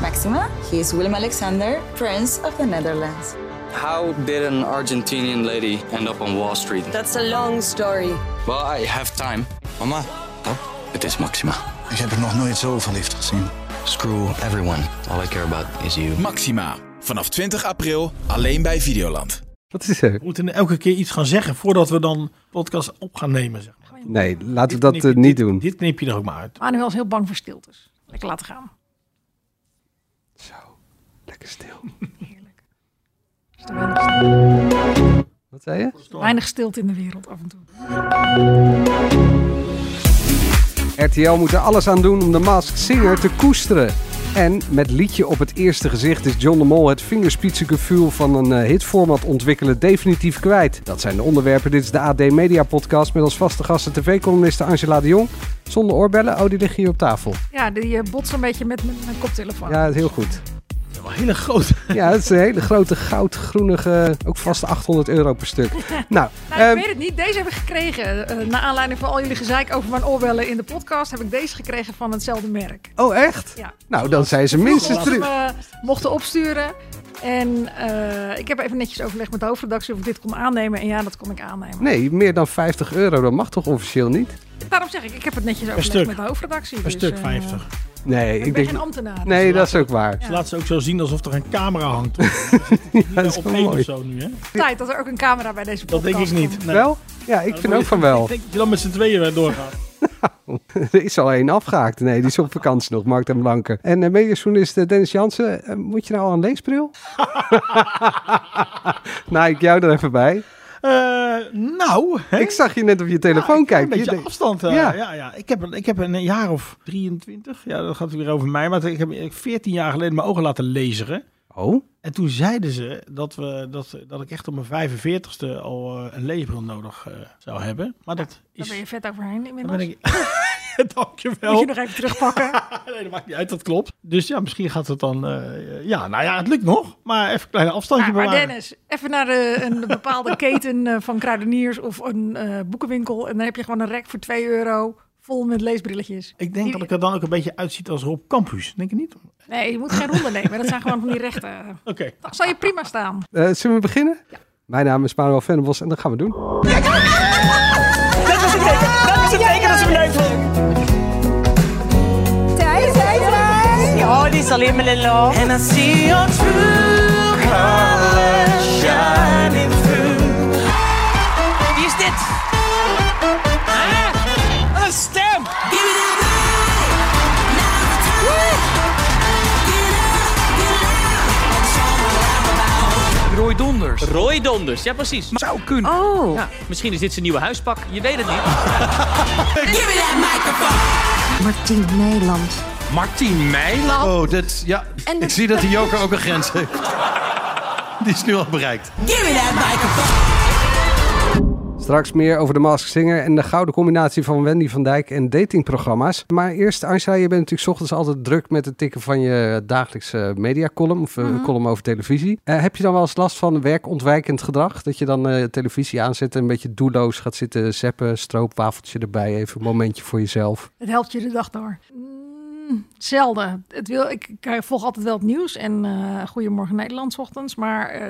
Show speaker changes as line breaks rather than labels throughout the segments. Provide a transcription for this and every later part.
Maxima. He is Willem Alexander, Prince of the Netherlands.
How did an Argentinian lady end up on Wall Street?
That's a long story.
Well, I have time.
Mama,
Het is Maxima.
Ik heb er nog nooit zo verliefd gezien.
Screw everyone. All I care about is you.
Maxima. Vanaf 20 april alleen bij Videoland.
Wat is er?
We moeten elke keer iets gaan zeggen voordat we dan podcast op gaan nemen. Zeg maar.
Nee, laten
Dit
we dat
knip je-
eh, niet
dit-
doen.
Dit knip je er ook maar uit.
Manuel is Ah, heel bang voor stiltes. Lekker laten gaan.
Zo, lekker stil.
Heerlijk. Er is toch weinig stilte-
Wat zei je?
Weinig stilte in de wereld af en toe.
RTL moet er alles aan doen om de Masked Singer te koesteren. En met Liedje op het eerste gezicht is John de Mol het vingerspitsengevoel van een eh, hitformat ontwikkelen definitief kwijt. Dat zijn de onderwerpen. Dit is de AD Media Podcast met als vaste gasten tv-columniste Angela de Jong. Zonder oorbellen, oh die liggen hier op tafel.
Ja, die eh, botst een beetje met mijn mijn koptelefoon.
Ja, heel goed.
Dat is wel hele grote.
Ja, het is een hele grote goudgroenige, ook vast 800 euro per stuk. Nou,
Nou, ik
ehm,
weet het niet. Deze heb ik gekregen. Eh, naar aanleiding van al jullie gezeik over mijn oorbellen in de podcast... heb ik deze gekregen van hetzelfde merk.
oh echt?
Ja.
Nou, dan zijn ze minstens
Ze
drie.
me mochten opsturen. En eh, ik heb even netjes overlegd met de hoofdredactie of ik dit kon aannemen. En ja, dat kon ik aannemen.
Nee, meer dan 50 euro, dat mag toch officieel niet?
Daarom zeg ik, ik heb het netjes overlegd
stuk.
met de hoofdredactie.
Een
dus,
stuk
eh,
50.
Nee,
ik,
ik
ben
denk...
geen ambtenaar.
Nee, dat is ook waar.
Ze laat ze ook zo zien alsof er een camera hangt. toch? Ze zitten niet
dat is
op
wel
één
mooi.
of zo nu, hè?
Tijd dat er ook een camera bij deze
Dat
podcast
denk ik niet.
komt.
Nee.
Wel? Ja, ik vind ook van wel.
Ik denk dat je dan met z'n tweeën weer doorgaat.
Er is al één afgehaakt. Nee, die is op vakantie nog, Mark en Blanke. En uh, mediajournalist eh, Dennis Jansen, eh, moet je nou al een leesbril? nou, ik jou er even bij.
Eh, nou, hè?
Ik zag je net op je
Ja,
telefoon
ik heb
kijken. Je
Een beetje
denkt-
afstand. eh,
Ja.
ja. Ja, Ik, heb, een- ik heb een jaar of 23, ja, dat gaat weer over mij, maar ik heb 14 jaar geleden mijn ogen laten laseren.
Oh,
En toen zeiden ze dat, we, dat, dat ik echt op mijn 45ste al eh, een leesbril nodig eh, zou hebben. Maar dat
Daar
is...
ben je vet overheen
daar
inmiddels.
ben ik... Dankjewel.
Moet je nog even terugpakken.
Nee, dat maakt niet uit, dat klopt. Dus ja, misschien gaat het dan... eh, ja, nou ja, het lukt nog. Maar even een kleine afstandje
maar, maar
bewaren.
Dennis, even naar eh, een bepaalde keten eh, van kruideniers of een eh, boekenwinkel. En dan heb je gewoon een rek voor 2 euro vol met leesbrilletjes.
Ik denk dat ik er dan ook een beetje uitziet als Rob Campus. Denk je niet? Oké.
Nee, je moet geen ronde nemen. Dat zijn gewoon van die rechten. Dan zal je prima staan.
eh, zullen we beginnen? Mijn naam is Manuel Venderbos en dat gaan we doen.
Wie is dit? Ah, een stem!
Roy Donders.
Roy Donders, ja precies. Maar
Zou kunnen.
Oh,
misschien is dit zijn nieuwe huispak, je weet het niet.
Martien Nederland.
Martin Meiland. Oh, dat, ja. Ik zie dat die joker ook een grens heeft. Die is nu al bereikt.
Straks meer over de Masked Singer en de gouden combinatie van Wendy van Dijk en datingprogramma's. Maar eerst, Angela, je bent natuurlijk 's ochtends altijd druk met het tikken van je dagelijkse mediacolumn of eh,
Mhm.
column over televisie. Eh, heb je dan wel eens last van werkontwijkend gedrag? Dat je dan eh, televisie aanzet en een beetje doelloos gaat zitten zappen, stroopwafeltje erbij, even een momentje voor jezelf.
het helpt je de dag door. Mm, zelden. Het wil, ik, ik volg altijd wel het nieuws en eh, Goedemorgen Nederland 's ochtends. Maar eh,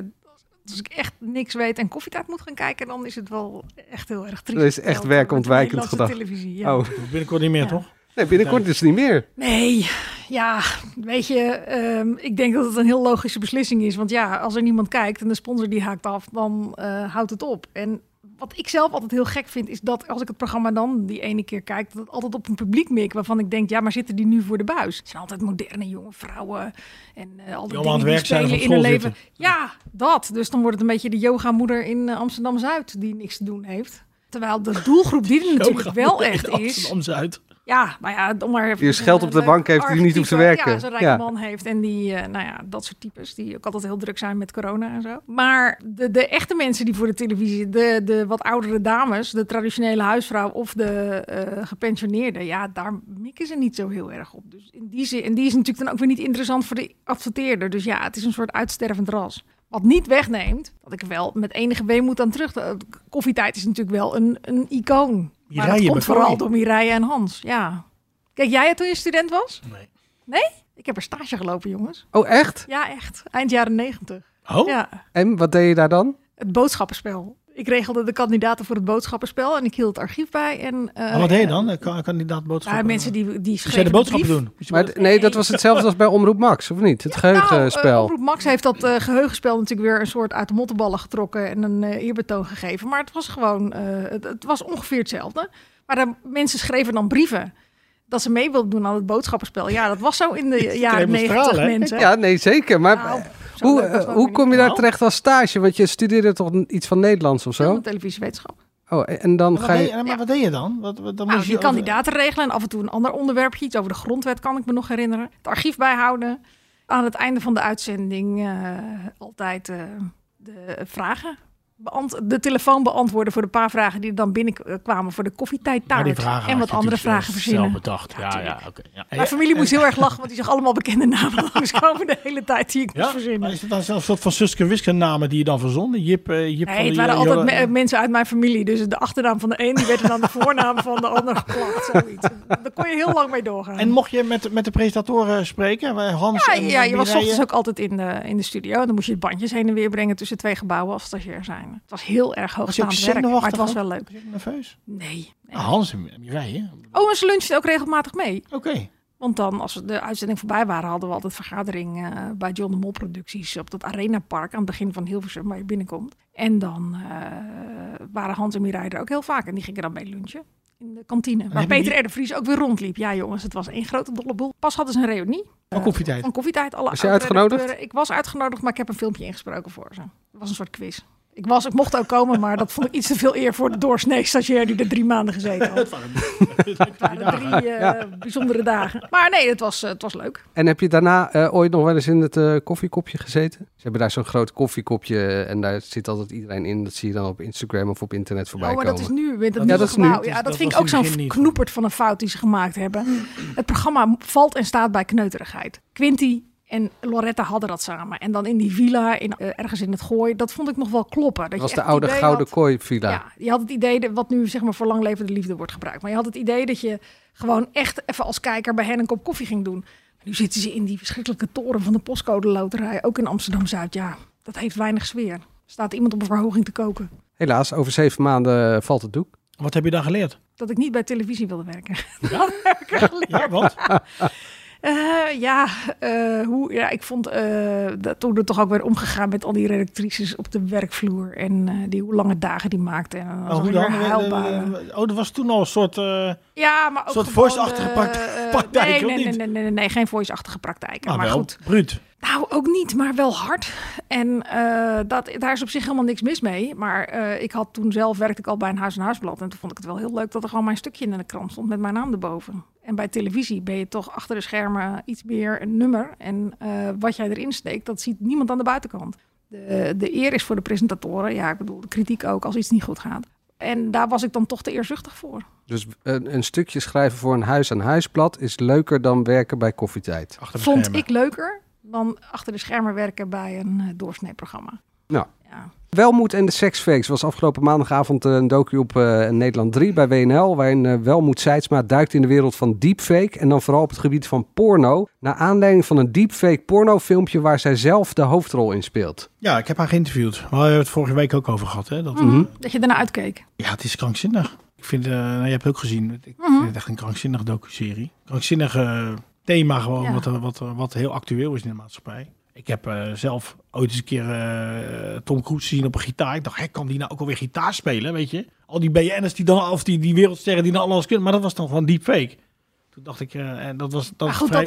als ik echt niks weet en koffietijd moet gaan kijken, dan is het wel echt heel erg triest.
Dat is echt
Met de
werkontwijkend
Nederlandse
gedrag.
televisie, ja.
Oh,
Binnenkort niet meer,
Ja.
toch?
nee, binnenkort dus niet meer.
Nee, ja, weet je, ehm, ik denk dat het een heel logische beslissing is. Want ja, als er niemand kijkt en de sponsor die haakt af, dan eh, houdt het op. En wat ik zelf altijd heel gek vind, is dat als ik het programma dan die ene keer kijk, dat het altijd op een publiek mik, waarvan ik denk, ja, maar zitten die nu voor de buis? Het zijn altijd moderne jonge vrouwen en eh al die
Die allemaal
dingen
aan het
die
werk zijn of
spelen
op
in hun
school
leven. Ja, dat. Dus dan wordt het een beetje de yogamoeder in eh, Amsterdam-Zuid die niks te doen heeft. Terwijl de doelgroep die er natuurlijk wel echt is,
Amsterdam Zuid.
ja, nou ja, om maar even...
Die is geld op de
een
bank
leuk
heeft die niet hoeft te
archetype.
werken.
Ja, zo'n rijke
Ja.
man heeft en die, eh, nou ja, dat soort types die ook altijd heel druk zijn met corona en zo. Maar de, de echte mensen die voor de televisie, de, de wat oudere dames, de traditionele huisvrouw of de eh gepensioneerden, ja, daar mikken ze niet zo heel erg op. Dus in die zin, en die is natuurlijk dan ook weer niet interessant voor de adverteerder. Dus ja, het is een soort uitstervend ras. Wat niet wegneemt, dat ik er wel met enige weemoed aan terug. eh, Koffietijd is natuurlijk wel een, een icoon. Maar
Mireille
dat komt
McCoy.
vooral door Mireille en Hans. Ja. Kijk jij het toen je student was?
Nee.
Nee? Ik heb er stage gelopen, jongens.
Oh, echt?
Ja, echt. Eind jaren negentig.
Oh?
Ja.
En wat deed je daar dan?
Het boodschappenspel. Ik regelde de kandidaten voor het boodschappenspel en ik hield het archief bij. En, eh,
Maar wat deed je dan? Eh, Kan, kandidaat
Ja,
boodschappen?
mensen die, die
Moest jij
schreven
de
een
boodschappen
brief.
doen? Moest je
Maar d- nee, dat was hetzelfde als bij Omroep Max, of niet? Het
Nou, eh,
geheugenspel.
Omroep Max heeft dat eh, geheugenspel natuurlijk weer een soort uit de mottenballen getrokken en een eh, eerbetoon gegeven. Maar het was gewoon, eh, het, het was ongeveer hetzelfde. Maar de mensen schreven dan brieven dat ze mee wilden doen aan het boodschappenspel. Ja, dat was zo in de jaren
demonstraal,
negentig
hè?
mensen.
Ja, nee, zeker. Maar
Nou,
eh,
zo
hoe,
leuk was het
eh,
ook
hoe
weer
kom je
niet. Nou,
daar terecht als stage? Want je studeerde toch n- iets van Nederlands of
Film-
zo?
en televisiewetenschap.
Oh, en en dan
Maar
ga
wat, deed,
je...
je- maar wat deed je dan? Wat, wat, dan
Nou,
moest oh,
die
over-
kandidaten regelen en af en toe een ander onderwerpje. Iets over de grondwet kan ik me nog herinneren. Het archief bijhouden. Aan het einde van de uitzending eh, altijd eh, de vragen. beant- de telefoon beantwoorden voor de paar vragen die er dan binnenkwamen voor de
Maar die
koffietijdtaart.
vragen had
En wat
je
andere
natuurlijk
vragen
zelf
verzinnen.
bedacht. Ja, ja, oké. ja.
Mijn familie moest heel erg lachen, want die zag allemaal bekende namen langskomen de hele tijd die ik moest
Ja? Maar
verzinnen.
is het dan zelfs een soort van Suske en Wiske namen die je dan verzonnen? Jip, eh, Jip van
Nee, het
de-
waren
Jo-
altijd
Jo-
me- eh, mensen uit mijn familie. Dus de achternaam van de een die werd dan de voornaam van de ander geplaatst. zoiets. Daar kon je heel lang mee doorgaan.
En mocht je met, met de presentatoren spreken? Eh, Hans
Ja,
en
ja je was
Mireille?
ochtends ook altijd in de, in de studio. En dan moest je de bandjes heen en weer brengen tussen twee gebouwen als stagiair zijn. Het was heel erg
Was je ook
hoogstaand werk,
zenuwachtig?
maar het was
ook?
wel leuk.
Was je ook nerveus?
Nee. nee.
Ah, Hans en Mireille.
Oh, en ze lunchten ook regelmatig mee.
Oké.
Want dan, als de uitzending voorbij waren, hadden we altijd vergadering eh, bij John de Mol Producties op dat Arena Park aan het begin van Hilversum, waar je binnenkomt. En dan eh, waren Hans en Mireille er ook heel vaak en die gingen dan mee lunchen in de kantine. Waar
hebben
Peter R. de Vries ook weer rondliep. Ja jongens, het was één grote dolle boel. Pas hadden ze een reunie.
Van koffietijd.
Van koffietijd. Alle
Was je
oud-redacteuren.
uitgenodigd?
eh, Ik was uitgenodigd, maar ik heb een filmpje ingesproken voor ze. Het was een soort quiz. Ik, was, ik mocht ook komen, maar dat vond ik iets te veel eer voor de doorsnee stagiair die er drie maanden gezeten had. Het waren drie eh, bijzondere dagen. Maar nee, het was, eh, het was leuk.
En heb je daarna eh, ooit nog wel eens in het eh, koffiekopje gezeten? Ze hebben daar zo'n groot koffiekopje en daar zit altijd iedereen in. Dat zie je dan op Instagram of op internet voorbij
Oh, maar
komen.
dat is nu. Met dat
Ja,
nieuwe
dat is
gebouw.
nu.
Dat
Ja, dat,
was
vind ik
in
ook
het begin
zo'n
niet.
knoepert van een fout die ze gemaakt hebben. Het programma valt en staat bij kneuterigheid. Quinty en Loretta hadden dat samen. En dan in die villa, in, eh, ergens in het gooi. Dat vond ik nog wel kloppen. Dat
Dat was
je
de
echt het
oude
idee
Gouden
had-
Kooi Villa.
Ja, je had het idee dat wat nu zeg maar voor langlevende liefde wordt gebruikt. Maar je had het idee dat je gewoon echt even als kijker bij hen een kop koffie ging doen. Nu zitten ze in die verschrikkelijke toren van de postcode loterij, ook in Amsterdam Zuid. Ja, dat heeft weinig sfeer. Staat iemand op een verhoging te koken?
Helaas, over zeven maanden eh, valt het doek.
Wat heb je daar geleerd?
Dat ik niet bij televisie wilde werken. Dat heb ik geleerd.
Ja, wat?
Eh, ja, eh, hoe, ja, ik vond eh, dat toen er toch ook weer omgegaan met al die redactrices op de werkvloer. En eh, die hoe lange dagen die maakten. En dan
Maar Oh, hoe
zo'n
dan? Eh,
herhaalbare-
Oh, er was toen al een soort... eh,
Ja, maar ook
Een soort
gewoon
voice-achtige
de,
prakt-
eh,
praktijk,
nee,
of
nee,
niet?
Nee, nee, nee, nee, geen voice-achtige praktijken.
nou,
maar
wel.
goed.
Bruut.
Nou, ook niet, maar wel hard. En eh, dat, daar is op zich helemaal niks mis mee. Maar eh, ik had toen zelf werkte ik al bij een huis- en huisblad. En toen vond ik het wel heel leuk dat er gewoon mijn stukje in de krant stond met mijn naam erboven. En bij televisie ben je toch achter de schermen iets meer een nummer. En eh, wat jij erin steekt, dat ziet niemand aan de buitenkant. De, de eer is voor de presentatoren. Ja, ik bedoel, de kritiek ook als iets niet goed gaat. En daar was ik dan toch te eerzuchtig voor.
Dus een, een stukje schrijven voor een huis aan huisblad is leuker dan werken bij koffietijd.
Achter de
vond
schermen.
ik leuker dan achter de schermen werken bij een eh, doorsneeprogramma.
Nou.
Ja.
Welmoed en de seksfakes was afgelopen maandagavond eh, een docu op eh, Nederland 3 bij WNL, waarin eh, Welmoed Seidsma duikt in de wereld van deepfake en dan vooral op het gebied van porno, naar aanleiding van een deepfake pornofilmpje waar zij zelf de hoofdrol in speelt.
Ja, ik heb haar geïnterviewd. We hebben het vorige week ook over gehad. Hè? Dat,
Mhm.
Dat je daarna uitkeek.
Ja, het is krankzinnig. Ik vind, eh, nou, je hebt het ook gezien, ik
Mhm.
vind het echt een krankzinnig docuserie. Krankzinnig eh, thema gewoon,
Ja.
wat, eh, wat, eh, wat heel actueel is in de maatschappij. Ik heb eh, zelf ooit eens een keer eh, Tom Cruise zien op een gitaar. Ik dacht, hè, kan die nou ook alweer gitaar spelen, weet je? Al die BN'ers die dan, of die, die wereldsterren die dan alles kunnen. Maar dat was dan gewoon deepfake. Toen dacht ik, eh, en dat was, dat
Maar
was vrij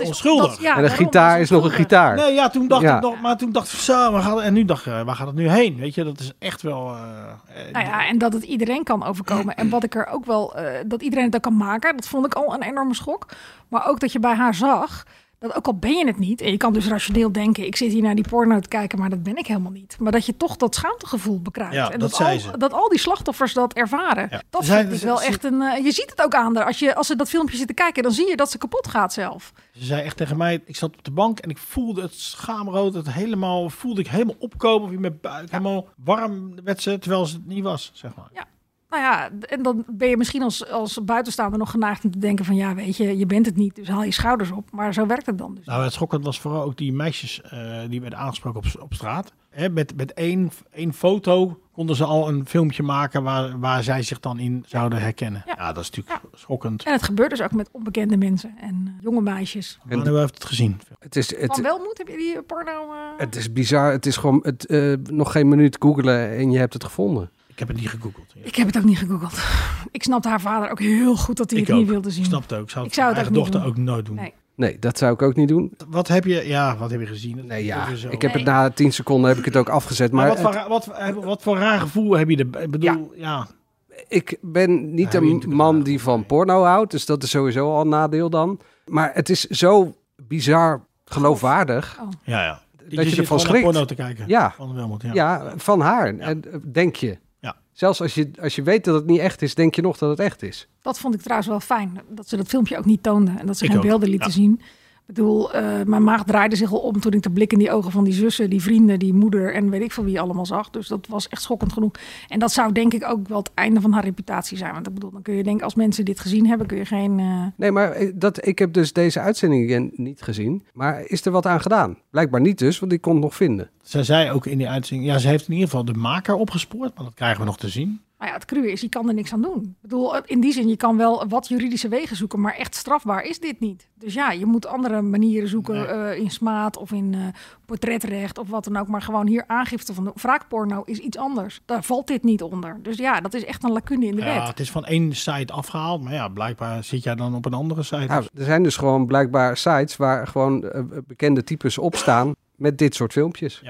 en
onschuldig.
ja,
een
daarom, dat
gitaar is nog een
onschuldig.
gitaar.
Nee, ja, toen dacht
Ja.
ik nog, maar toen dacht ik, zo, waar gaat, en nu dacht ik, eh, waar gaat het nu heen? Weet je, dat is echt wel... eh, eh,
Nou ja, en dat het iedereen kan overkomen. En wat ik er ook wel, eh, dat iedereen het ook kan maken, dat vond ik al een enorme schok. Maar ook dat je bij haar zag, dat ook al ben je het niet, en je kan dus rationeel denken, ik zit hier naar die porno te kijken, maar dat ben ik helemaal niet. Maar dat je toch dat schaamtegevoel bekruipt.
Ja,
en
dat zei
al,
ze.
dat al die slachtoffers dat ervaren.
Ja.
Dat
Zij-
vind ik
ze-
wel
ze-
echt een, eh, je ziet het ook aan haar. Als, je, als ze dat filmpje zit te kijken, dan zie je dat ze kapot gaat zelf.
Ze zei echt tegen mij, ik zat op de bank en ik voelde het schaamrood, het helemaal, voelde ik helemaal opkomen, of in mijn buik, helemaal warm werd ze, terwijl ze het niet was, zeg maar.
Ja. Nou ja, d- en dan ben je misschien als, als buitenstaander nog geneigd om te denken van... ja, weet je, je bent het niet, dus haal je schouders op. Maar zo werkt het dan dus.
Nou, het schokkend was vooral ook die meisjes eh, die werden aangesproken op, op straat. Hè, met met één, één foto konden ze al een filmpje maken waar, waar zij zich dan in zouden herkennen.
Ja.
Ja, dat is natuurlijk schokkend.
En het gebeurt dus ook met onbekende mensen en eh, jonge meisjes.
En nu heeft het gezien.
Het is,
Van
het,
Welmoed, heb je die porno... eh,
het is bizar. Het is gewoon het, eh, nog geen minuut googelen en je hebt het gevonden.
Ik heb het niet gegoogeld. Ja.
Ik heb het ook niet gegoogeld. Ik snapte haar vader ook heel goed dat hij
Ik
het niet
ook.
wilde zien.
Ik snap het ook. Ik zou het
Ik zou
voor
het
mijn
ook
eigen dochter
niet
ook nooit doen.
Nee.
Nee, dat zou ik ook niet doen.
Wat heb je, ja, wat heb je gezien?
Nee, ja.
Dat is zo.
Ik heb het na 10 seconden heb ik het ook afgezet.
Maar
Maar
wat, voor, ra- wat, voor- wat voor raar gevoel heb je er? Ik bedoel, ja.
het- ik ben niet
Nou, je
een
doet het
man
wel.
die van porno houdt. Dus dat is sowieso al een nadeel dan. Maar het is zo bizar geloofwaardig.
Ja, ja.
je ervan
zit gewoon naar
schrikt.
porno te kijken.
Ja.
Van Wilmot, ja.
Ja, van haar. En, eh, denk je.
Ja.
Zelfs als je, als je weet dat het niet echt is, denk je nog dat het echt is.
Dat vond ik trouwens wel fijn. Dat ze dat filmpje ook niet toonden. En dat ze
Ik
geen
ook,
beelden lieten zien. Ik bedoel, eh, mijn maag draaide zich al om toen ik de blik in die ogen van die zussen, die vrienden, die moeder en weet ik van wie allemaal zag. Dus dat was echt schokkend genoeg. En dat zou denk ik ook wel het einde van haar reputatie zijn. Want ik bedoel, dan kun je denken, als mensen dit gezien hebben, kun je geen... eh,
Nee, maar eh, dat, ik heb dus deze uitzending eh, niet gezien. Maar is er wat aan gedaan? Blijkbaar niet dus, want ik kon het nog vinden.
Zij zei ook in die uitzending, ja, ze heeft in ieder geval de maker opgespoord, maar dat krijgen we nog te zien.
Maar Nou ja, het cruwe is, je kan er niks aan doen. Ik bedoel, in die zin, je kan wel wat juridische wegen zoeken, maar echt strafbaar is dit niet. Dus ja, je moet andere manieren zoeken
Nee.
eh, in smaad of in eh, portretrecht of wat dan ook. Maar gewoon hier aangifte van de wraakporno is iets anders. Daar valt dit niet onder. Dus ja, dat is echt een lacune in de
Ja,
wet.
het is van één site afgehaald, maar ja, blijkbaar zit jij dan op een andere site.
Nou, er zijn dus gewoon blijkbaar sites waar gewoon eh, bekende types op staan met dit soort filmpjes.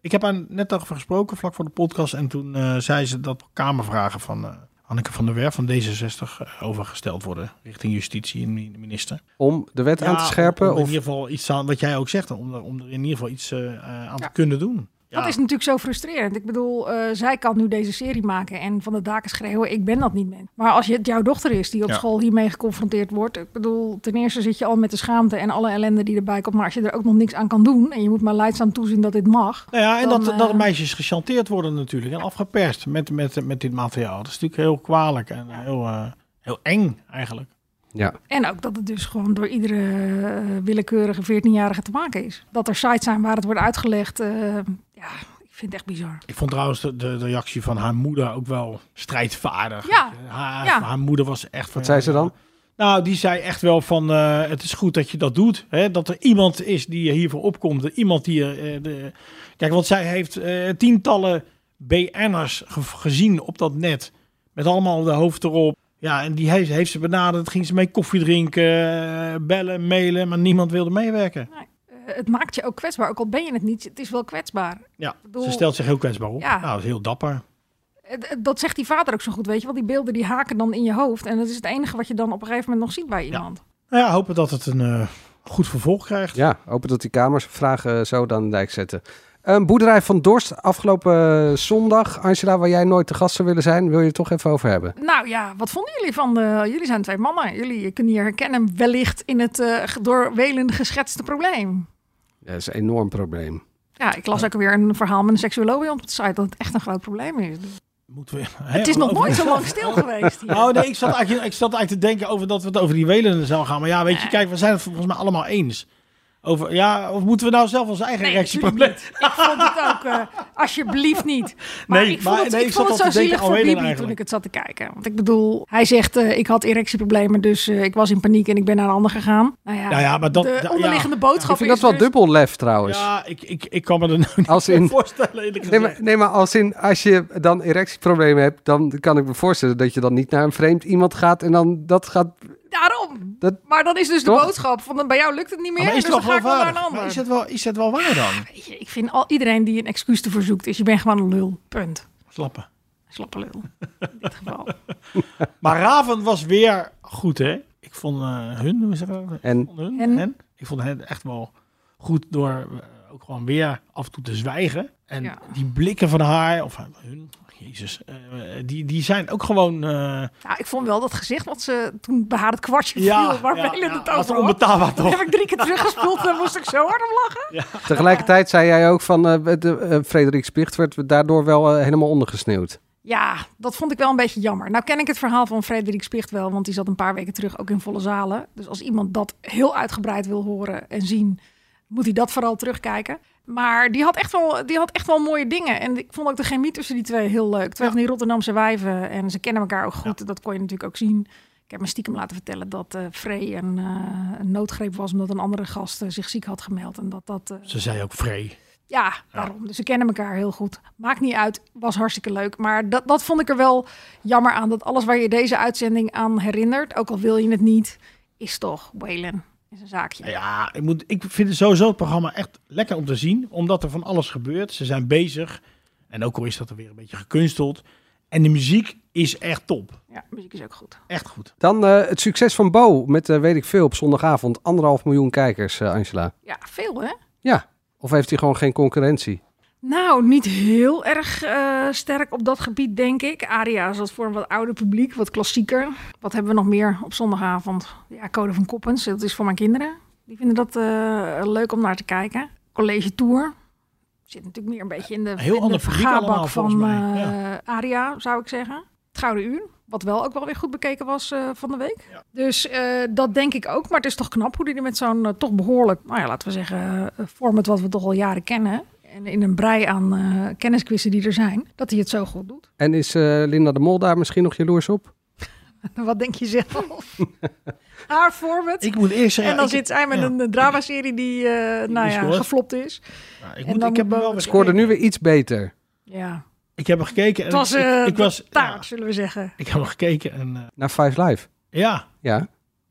Ik heb haar net over gesproken, vlak voor de podcast, en toen eh, zei ze dat kamervragen van eh, Anneke van der Werf van D66 eh, overgesteld worden richting justitie en min- minister.
Om de wet aan te
Ja,
scherpen
om in
of
ieder geval iets aan, wat jij ook zegt, om er, om er in ieder geval iets eh, eh, aan
Ja.
te kunnen doen. Ja.
Dat is natuurlijk zo frustrerend. Ik bedoel, eh, zij kan nu deze serie maken en van de daken schreeuwen, ik ben dat niet meer. Maar als je, het jouw dochter is die op
Ja.
school hiermee geconfronteerd wordt, ik bedoel, ten eerste zit je al met de schaamte en alle ellende die erbij komt. Maar als je er ook nog niks aan kan doen en je moet maar leidzaam toezien dat dit mag.
Nou ja, en
Dan,
dat,
eh,
dat meisjes gechanteerd worden natuurlijk en afgeperst met, met, met dit materiaal. Dat is natuurlijk heel kwalijk en heel, eh, heel eng eigenlijk.
ja.
En ook dat het dus gewoon door iedere eh, willekeurige 14-jarige te maken is. Dat er sites zijn waar het wordt uitgelegd, eh, ja, ik vind het echt bizar.
Ik vond trouwens de, de reactie van haar moeder ook wel strijdvaardig.
Ja,
Haar,
ja.
haar moeder was echt...
wat zei ze dan?
Nou, die zei echt wel van, eh, het is goed dat je dat doet. Hè? Dat er iemand is die hiervoor opkomt. Iemand die... eh, de... Kijk, want zij heeft eh, tientallen BN'ers ge- gezien op dat net. Met allemaal de hoofd erop. Ja, en die heeft, heeft ze benaderd. Ging ze mee koffie drinken, eh, bellen, mailen. Maar niemand wilde meewerken.
Eh, het maakt je ook kwetsbaar, ook al ben je het niet, het is wel kwetsbaar.
Ja,
bedoel-
ze stelt zich heel kwetsbaar op.
Ja.
Nou, dat is heel dapper.
Het- het- Eh, Dat zegt die vader ook zo goed, weet je wel. Die beelden die haken dan in je hoofd. En dat is het enige wat je dan op een gegeven moment nog ziet bij iemand.
Nou ja, hopen dat het een eh, goed vervolg krijgt.
Ja, hopen dat die kamers vragen zo dan de dijk zetten. Een boerderij van Dorst afgelopen eh, zondag. Angela, waar jij nooit te gast zou willen zijn, wil je het toch even over hebben.
Nou ja, wat vonden jullie van de... Jullie zijn twee mannen. Jullie kunnen je herkennen wellicht in het eh, door Welen geschetste probleem.
Ja, dat is een enorm probleem.
Ja, ik las ook weer een verhaal met een seksuoloog op de site... dat het echt een groot probleem is.
Moeten we,
Het is nog nooit zo lang stil geweest hier.
Oh nee, ik zat, eigenlijk, ik zat eigenlijk te denken over dat we het over die Welen zou gaan. Maar ja, weet je, kijk, we zijn het volgens mij allemaal eens. Over, ja, of moeten we nou zelf ons eigen
Nee,
reactieprobleem...
natuurlijk niet. Ik vond het ook, eh, alsjeblieft niet. Maar
Nee,
ik vond
maar-
het,
nee,
ik
ik
vond
zat
het
al
zo
te denken
zielig
aan
voor
Whedon
Bibi toen
eigenlijk.
ik het zat te kijken. Want ik bedoel, hij zegt, eh, ik had erectieproblemen, dus eh, ik was in paniek en ik ben naar een ander gegaan. Nou ja,
Nou ja, maar dat-
de
dat- ja.
onderliggende boodschap
Ik vind dat
is
wel
dus-
dubbel lef trouwens.
Ja, ik, ik, ik kan me er nou niet
Als
bij
in-
voorstellen, eerlijk
Nee
gezegd.
maar, nee, maar als, in, als je dan erectieproblemen hebt, dan kan ik me voorstellen dat je dan niet naar een vreemd iemand gaat en dan dat gaat...
Daarom.
Dat-
maar dan is dus
Toch?
de boodschap van bij jou lukt het niet meer,
Ah, Maar
dus
is het
dan ga
wel
ik wel naar een
waar?
ander.
Maar is het wel, is het wel waar dan?
Weet je, ik vind al iedereen die een excuus te verzoekt is, je bent gewoon een lul. Punt.
Slappen.
Slappe lul. In dit geval.
Maar Raven was weer goed, hè? Ik vond eh, hun, hoe zeg je dat? Ik
En?
vond hun,
Hen.
hen. Ik vond hen echt wel goed door eh, ook gewoon weer af en toe te zwijgen. En
Ja.
die blikken van haar, of eh, hun, jezus, eh, die, die zijn ook gewoon... eh,
Nou, ik vond wel dat gezicht wat ze toen bij haar het kwartje viel, waar Welen het
was
over had.
onbetaalbaar
Dat
toch?
heb ik drie keer teruggespoeld en daar moest ik zo hard om lachen.
Tegelijkertijd zei jij ook van eh, de, eh, Frederik Spicht werd daardoor wel eh, helemaal ondergesneeuwd.
Ja, dat vond ik wel een beetje jammer. Nou ken ik het verhaal van Frederik Spicht wel, want die zat een paar weken terug ook in volle zalen. Dus als iemand dat heel uitgebreid wil horen en zien, moet hij dat vooral terugkijken. Maar die had echt wel, die had echt wel mooie dingen. En ik vond ook de chemie tussen die twee heel leuk. Twee van die Rotterdamse wijven. En ze kennen elkaar ook goed. Dat kon je natuurlijk ook zien. Ik heb me stiekem laten vertellen dat eh Frey een, eh, een noodgreep was... omdat een andere gast eh, zich ziek had gemeld. En dat dat... eh,
Ze zei ook vrij.
ja, daarom. Dus ze kennen elkaar heel goed. Maakt niet uit. Was hartstikke leuk. Maar dat, dat vond ik er wel jammer aan. Dat alles waar je deze uitzending aan herinnert... ook al wil je het niet, is toch Waylon. Is een zaakje.
nou Ja, ik, moet, ik vind het sowieso het programma echt lekker om te zien. Omdat er van alles gebeurt. Ze zijn bezig. En ook al is dat er weer een beetje gekunsteld. En de muziek is echt top.
ja, muziek is ook goed.
Echt goed.
Dan eh, het succes van Bo met eh, weet ik veel op zondagavond. Anderhalf miljoen kijkers, eh, Angela.
Ja, veel hè?
Ja. Of heeft hij gewoon geen concurrentie?
Nou, niet heel erg eh, sterk op dat gebied, denk ik. Aria is wat voor een wat ouder publiek, wat klassieker. Wat hebben we nog meer op zondagavond? Ja, Code van Koppens, dat is voor mijn kinderen. Die vinden dat eh, leuk om naar te kijken. College Tour. Zit natuurlijk meer een beetje in de,
heel
in de
ander publiek
vergaarbak
allemaal, volgens
van
mij.
eh, Aria, zou ik zeggen. Het Gouden Uur, wat wel ook wel weer goed bekeken was eh, van de week. Dus eh, dat denk ik ook. Maar het is toch knap hoe die er met zo'n eh, toch behoorlijk, nou ja, laten we zeggen, eh, format wat we toch al jaren kennen. En in een brei aan eh kennisquizzen die er zijn, dat hij het zo goed doet.
En is eh, Linda de Mol daar misschien nog jaloers op?
Wat denk je zelf? Haar format.
Ik moet eerst zeggen.
en dan
ik,
zit zij met
ja.
een eh, dramaserie die, eh, nou
is
ja,
gehoord.
geflopt is.
Ja, ik,
en
moet,
dan
ik heb
moet
hem wel
Bo-
weer
Scoorde
gekeken.
nu weer iets beter.
Ja,
Ik heb hem gekeken. En
het was,
ik,
eh
ik was,
taart,
ja,
zullen we zeggen.
ik heb hem gekeken en eh,
Naar Five Live.
ja.
Ja.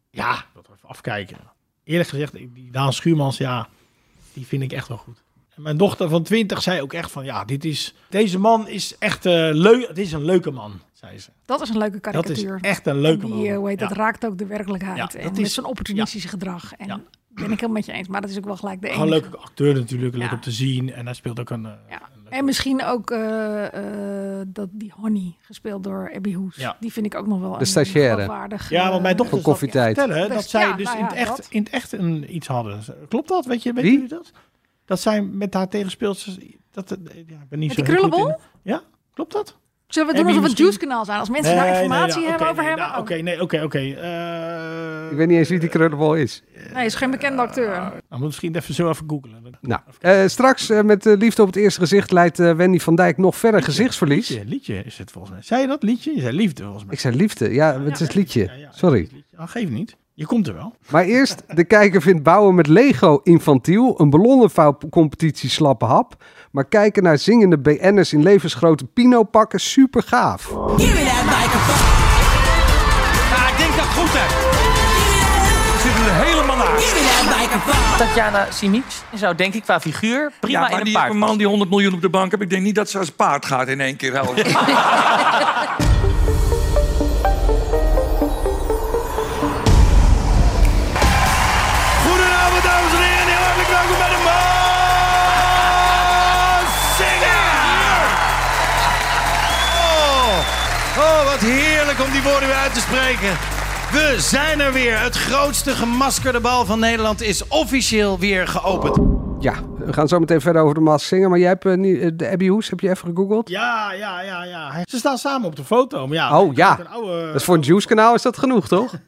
Ja, dat even afkijken. Eerlijk gezegd, die Daan Schuurmans, ja, die vind ik echt wel goed. En mijn dochter van 20 zei ook echt van, ja, dit is, deze man is echt eh leuk. Dit is een leuke man, zei ze.
Dat is een leuke
Dat is
karikatuur.
echt een leuke
En
man.
die, eh, hoe heet dat
Ja.
raakt ook de werkelijkheid.
Ja,
en
dat
met
is-
zijn opportunistische gedrag. En
Ja.
ben ik helemaal met je eens. Maar dat is ook wel gelijk de
Gewoon een
enige.
leuke acteur natuurlijk, leuk
Ja.
om te zien. En hij speelt ook een... eh,
Ja.
een leuke-
En misschien ook eh, eh, dat die Honey, gespeeld door Abby Hoes.
Ja.
Die vind ik ook nog wel een
stagiaire.
geloofwaardig,
ja, want mijn
eh,
dochter
Van
zat me te
koffietijd.
vertellen
Dus-
dat zij
ja,
dus
nou
in, het
ja, dat.
echt, in het echt een, iets hadden. Klopt dat? Weet je, weet
Wie?
jullie dat? Dat zij met haar tegenspeelsters... Dat, eh, ja, ik ben niet
Met
zo
die
heel goed in-
krullenbol?
Ja, klopt dat?
Zullen we
Abby
doen alsof het
misschien-
Juice-kanaal zijn? Als mensen daar informatie
nee,
hebben
oké,
over
nee,
hebben.
nou,
oh.
Oké, nee, oké, oké. Eh,
Ik weet niet eens wie die krullenbol is.
Nee, is geen bekende acteur.
Nou, moet misschien even zo even googlen.
Nou, eh, straks eh, met eh, Liefde op het Eerste Gezicht leidt eh, Wendy van Dijk nog verder gezichtsverlies.
Liedje, liedje is het volgens mij. Zei je dat liedje? Je zei liefde volgens mij.
Ik zei liefde. Ja, het is
Ja, ja,
liedje.
ja,
Sorry.
het liedje. Ah, geef niet. Je komt er wel.
Maar eerst, de kijker vindt bouwen met Lego infantiel, een ballonnenvouwcompetitie slappe hap. Maar kijken naar zingende BN'ers in levensgrote pinopakken, super gaaf.
Ja, ik denk dat goed hè. Tatjana Simic zou denk ik qua figuur prima
ja, maar
in een
die
paard.
een man die 100 miljoen op de bank heeft. Ik denk niet dat ze als paard gaat in één keer helpen.
Goedenavond, dames en heren. Heel hartelijk welkom bij de Maas Singer.
Oh, oh, wat heerlijk om die woorden weer uit te spreken. We zijn er weer. Het grootste gemaskerde bal van Nederland is officieel weer geopend.
Ja, we gaan zo meteen verder over de Maas zingen. Maar jij hebt eh, niet- eh, de Abby Hoes, heb je even gegoogeld?
Ja, ja, ja, ja. Hij- Ze staan samen op de foto. Maar ja,
Oh
een
ja,
oude
dat is voor een Juice kanaal is dat genoeg toch?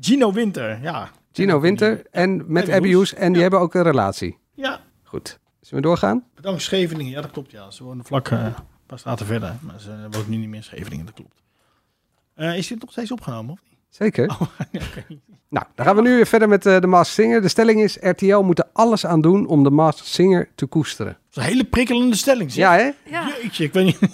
Gino Winter. Ja.
Gino Winter en met
Abby
Abby
Hoes.
Hoes en die hebben ook een relatie.
Ja.
Goed, zullen we doorgaan?
Bedankt Scheveningen. Ja, dat klopt. Ja. Ze wonen vlak eh, een paar straten verder. Maar ze woont nu niet meer in Scheveningen. Dat klopt. Eh, is dit nog steeds opgenomen? Of niet?
Zeker. Nou, dan gaan we nu weer verder met eh, de Maas Singer. De stelling is, RTL moet er alles aan doen om de Maas Singer te koesteren.
Dat is een hele prikkelende stelling. zeg.
Ja hè?
Ja.
Jeetje, ik weet niet.
We